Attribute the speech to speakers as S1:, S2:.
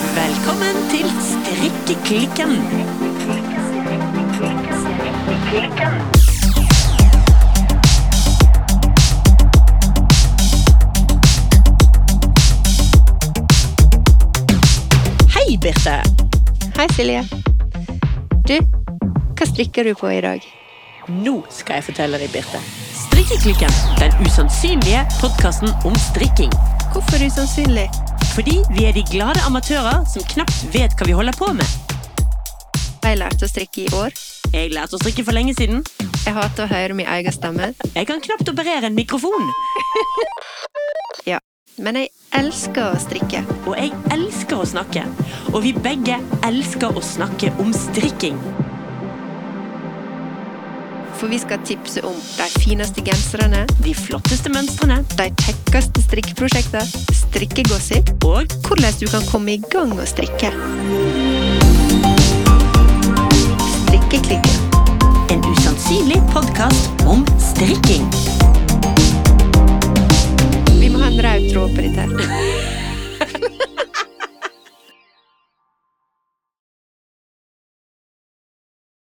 S1: Velkommen til Strikkeklikken. Hei, Birte.
S2: Hei, Silje. Du, hva strikker du på i dag?
S1: Nå skal jeg fortelle deg, Birte. Strikkeklikken, den usannsynlige podkasten om strikking.
S2: Hvorfor usannsynlig?
S1: Fordi vi er de glade amatører som knapt vet hva vi holder på med.
S2: Jeg lærte å strikke i år.
S1: Jeg lærte å strikke for lenge siden.
S2: Jeg hater å høre min egen stemme,
S1: Jeg kan knapt operere en mikrofon.
S2: men jeg elsker å strikke.
S1: Og jeg elsker å snakke. Og vi begge elsker å snakke om strikking.
S2: For vi skal tipse om de fineste genserne,
S1: De flotteste mønstrene.
S2: de kjekkeste strikkeprosjektene, strikkegossip,
S1: Og
S2: hvordan du kan komme i gang å strikke.